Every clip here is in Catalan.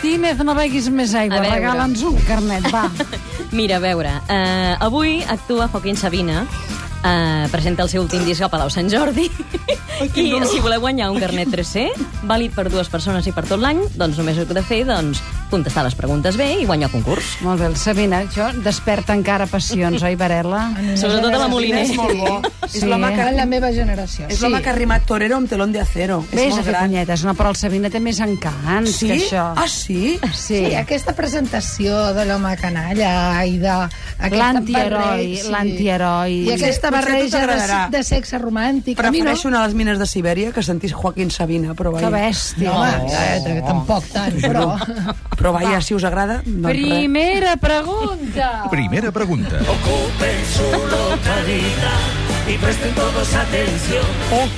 Jiménez, no beguis més aigua. A veure. Regala'ns un carnet, va. Mira, a veure, eh, avui actua Joaquín Sabina, eh, presenta el seu últim disc a Palau Sant Jordi i si voleu guanyar un carnet 3C vàlid per dues persones i per tot l'any doncs només heu de fer doncs, contestar les preguntes bé i guanyar el concurs Molt bé, el Sabina, això desperta encara passions, oi, Varela? sobretot a la Moliner Eh, És molt bo. Sí. És l'home que, Era la meva generació. és l'home que ha rimat Torero amb telón de acero. Vés és a molt fer gran. punyetes, no, però el Sabina té més encants Sí? que això. Ah, sí? sí. Sí, aquesta presentació de l'home canalla i de... aquesta L'antiheroi, barreja- sí. l'antiheroi. I aquesta Potser a tu barreja de, t'agradarà. de sexe romàntic. A mi no. Prefereixo anar a les mines de Sibèria que sentir Joaquín Sabina, però Que vaja. bèstia. No, home, eh, tampoc tant, però... Però vaja, si us agrada, doncs res. Primera pregunta. Primera pregunta. Ocupen su localidad y presten todos atención.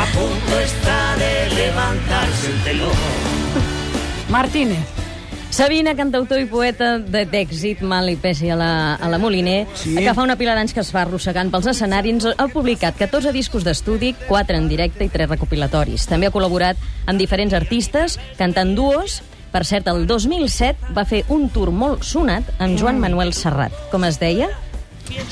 A punto está de levantarse el telón. Martínez. Sabina, cantautor i poeta de d'èxit, mal i pesi a la, a la Moliner, sí. que fa una pila d'anys que es va arrossegant pels escenaris, ha publicat 14 discos d'estudi, 4 en directe i 3 recopilatoris. També ha col·laborat amb diferents artistes, cantant duos, per cert, el 2007 va fer un tour molt sonat amb Joan Manuel Serrat. Com es deia?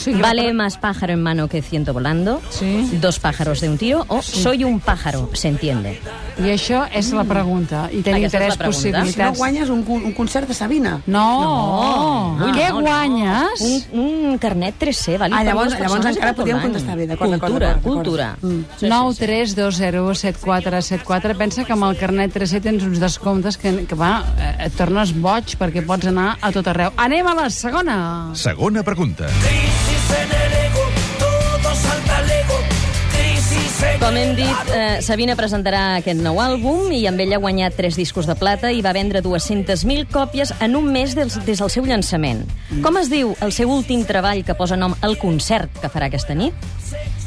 Sí, que Vale más pájaro en mano que ciento volando, Sí. dos pájaros de un tiro o soy un pájaro, se entiende. I això és la pregunta. I tenim Aquesta és la tres pregunta. Si no possibilitats. guanyes un, con- un concert de Sabina. No. Ah, Què no, no. guanyes? Un, un carnet 3C, vàlid Ah, per llavors- dues llavors persones encara per tot podíem l'any. contestar bé, d'acord, d'acord, Cultura, d'acord, d'acord. cultura. Mm. 9 3 2 0 7 4 7 4 Pensa que amb el carnet 3 tens uns descomptes que, que va, eh, et tornes boig perquè pots anar a tot arreu. Anem a la segona. Segona pregunta. Crisis en el ego, todo salta al ego. Crisis en Com hem el dit, eh, Sabina presentarà aquest nou àlbum i amb ell ha guanyat tres discos de plata i va vendre 200.000 còpies en un mes des, des del seu llançament. Mm. Com es diu el seu últim treball que posa nom al concert que farà aquesta nit?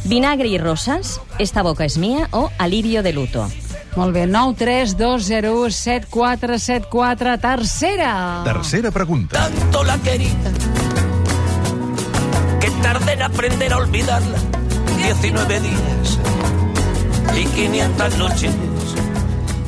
Vinagre i rosas, Esta boca es mía o Alivio de luto. Molt bé, 9 3 2 0 7 4 7 4 Tercera. Tercera pregunta. tanto la querida que tarde en aprender a olvidarla 19 días y 500 noches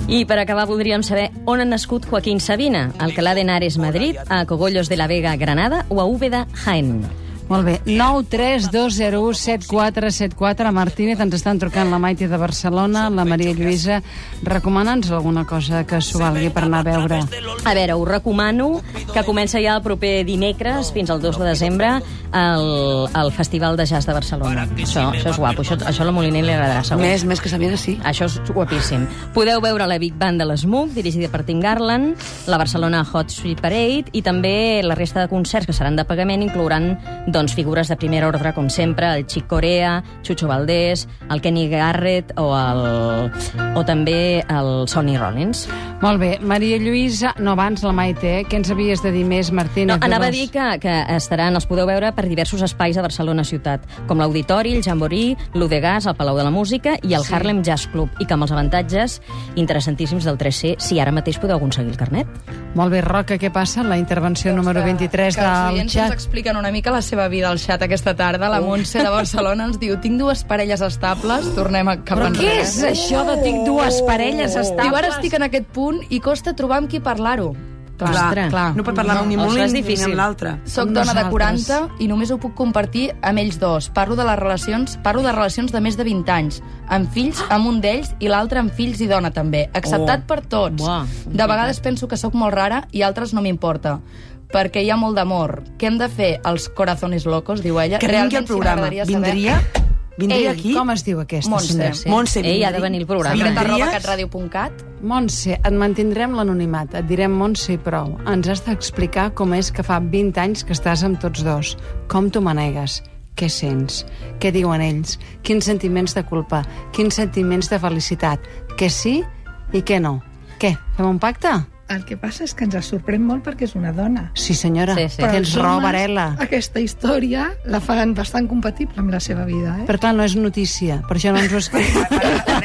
I per acabar voldríem saber on ha nascut Joaquín Sabina, al Calá de Henares, Madrid, a Cogollos de la Vega, Granada o a Úbeda, Jaén. Molt bé, 9 3 2 0 7 4 7 4 Martínez, ens estan trucant la Maite de Barcelona, la Maria Lluïsa. Recomana'ns alguna cosa que s'ho valgui per anar a veure. A veure, us recomano que comença ja el proper dimecres fins al 2 de desembre el, el Festival de Jazz de Barcelona. Això, això és guapo, això, això a la Moliner li agradarà segur. Més, més que Sabina, sí. Això és guapíssim. Podeu veure la Big Band de l'Smug, dirigida per Tim Garland, la Barcelona Hot Street Parade i també la resta de concerts que seran de pagament, inclouran doncs, figures de primera ordre, com sempre, el Chic Corea, Chucho Valdés, el Kenny Garrett o, el, o també el Sonny Rollins. Molt bé, Maria Lluïsa, no abans la Maite, eh? què ens havies de dir més, Martínez? No, anava a Dolors? dir que, que estaran, els podeu veure per diversos espais de Barcelona ciutat, com l'Auditori, el Jamborí, l'Udegas, el Palau de la Música i el sí. Harlem Jazz Club, i que amb els avantatges interessantíssims del 3C, si ara mateix podeu aconseguir el carnet. Molt bé, Roca, què passa? La intervenció número 23 que els del oients ens xat. expliquen una mica la seva vida al xat aquesta tarda. La Montse de Barcelona ens diu tinc dues parelles estables, tornem a cap Però què enrere. és això de tinc dues parelles Oh. Diu, ara estables? estic en aquest punt i costa trobar amb qui parlar-ho. Clar, Ostres. clar. No pot parlar amb ni No, amb això l'un és ni difícil. amb l'altre. Soc Amb dona de nosaltres. 40 i només ho puc compartir amb ells dos. Parlo de les relacions, parlo de relacions de més de 20 anys, amb fills, amb un d'ells i l'altre amb fills i dona també, acceptat Oh. per tots. Buah. De vegades penso que sóc molt rara i altres no m'importa perquè hi ha molt d'amor. Què hem de fer? Els corazones locos, diu ella. Que vingui al Realment, sí programa. m'agradaria saber- Vindria? Vindria Ei, aquí? Com es diu aquesta Montse. senyora? Sí. Montse, Ei, ha vindries? de venir el programa. Vindries? Sabina arroba catradio.cat. Montse, et mantindrem l'anonimat, et direm Montse i prou. Ens has d'explicar com és que fa 20 anys que estàs amb tots dos, com t'ho manegues, què sents, què diuen ells, quins sentiments de culpa, quins sentiments de felicitat, què sí i què no. Què, fem un pacte? El que passa és que ens sorprèn molt perquè és una dona. Sí, senyora, Sí, sí. tens els raó, homes, Varela. Aquesta història la fan bastant compatible amb la seva vida, eh? Per tant, no és notícia, per això no ens ho escriu.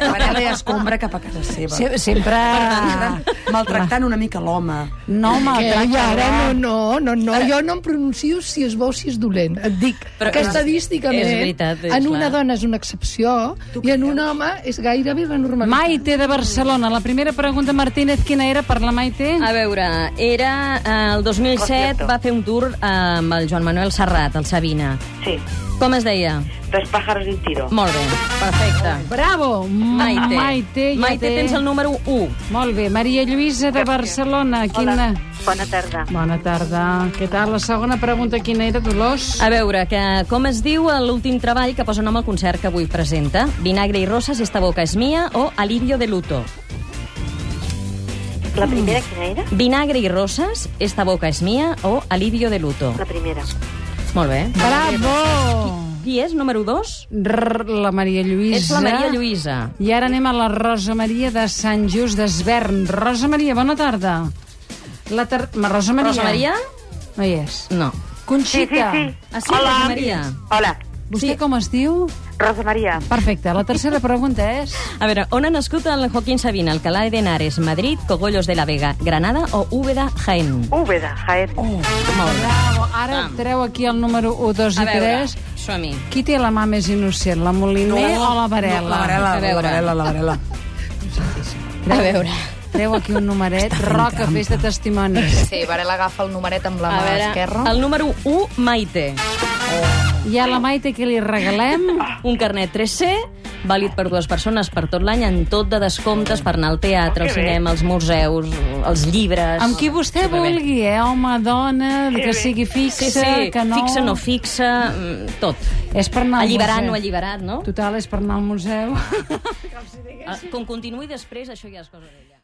Varela i escombra cap a casa seva. Sí. Sempre... Ah. Maltractant una mica l'home. No, Que maltracta. ja, eh? ara no, no, no, no, jo no em pronuncio si és bo o si és dolent. Et dic Però Però que és- estadísticament és veritat, és en una clar. dona és una excepció i en un home és gairebé la normalitat. Maite de Barcelona, la primera pregunta, Martínez, quina era per la Maite? Maite? A veure, era... eh, El 2007 va fer un tour eh, amb el Joan Manuel Serrat, el Sabina. Sí, Com es deia? dos pájaros de un tiro. Molt bé, perfecte. Bravo! M- Maite. Maite, ja Maite té. tens el número 1. Molt bé. Maria Lluïsa de Barcelona. Quina... Bona tarda. Bona tarda. Què tal? La segona pregunta quina era, Dolors? A veure, que, com es diu l'últim treball que posa nom al concert que avui presenta? Vinagre i roses, esta boca és mia o alivio de luto? La primera, ¿quién era? Vinagre i roses, esta boca és mia o alivio de luto? La primera. Molt bé. Bravo! Qui és, número 2? Rrr, la Maria Lluïsa. Ets la Maria Lluïsa. I ara anem a la Rosa Maria de Sant Just d'Esvern. Rosa Maria, bona tarda. La ter... Ma Rosa Maria? Rosa Maria? No hi és. No. Conxita. Ah, sí, Hola. Rosa Maria. Hola, Vostè com es diu? Rosa María. Perfecte. La tercera pregunta és... A veure, on ha nascut el Joaquín Sabina? Alcalá de Henares, Madrid, Cogollos de la Vega, Granada o Úbeda, Jaén? Úbeda, Jaén. Molt bé. Bravo. Ara treu aquí el número 1, 2 A i veure, 3. som-hi. Qui té la mà més innocent, la Moliner o la Varela? No, la Varela, A veure. la Varela, la Varela. A veure. Treu aquí un numeret. Roca, fes de testimonis. Sí, Varela agafa el numeret amb la A mà veure, esquerra. el número 1, Maite. I a la Maite que li regalem? Un carnet 3C, vàlid per dues persones per tot l'any, en tot de descomptes per anar al teatre, al cinema, als museus, els llibres... Amb qui vostè Superbé. vulgui, eh? Home, dona, que sigui fixa, Sí, sí, que no... fixa, no fixa, mm, tot. És per anar al Alliberat, museu. no alliberat, no? Total, és per anar al museu. Ah, Com continuï després, això ja és cosa d'ella.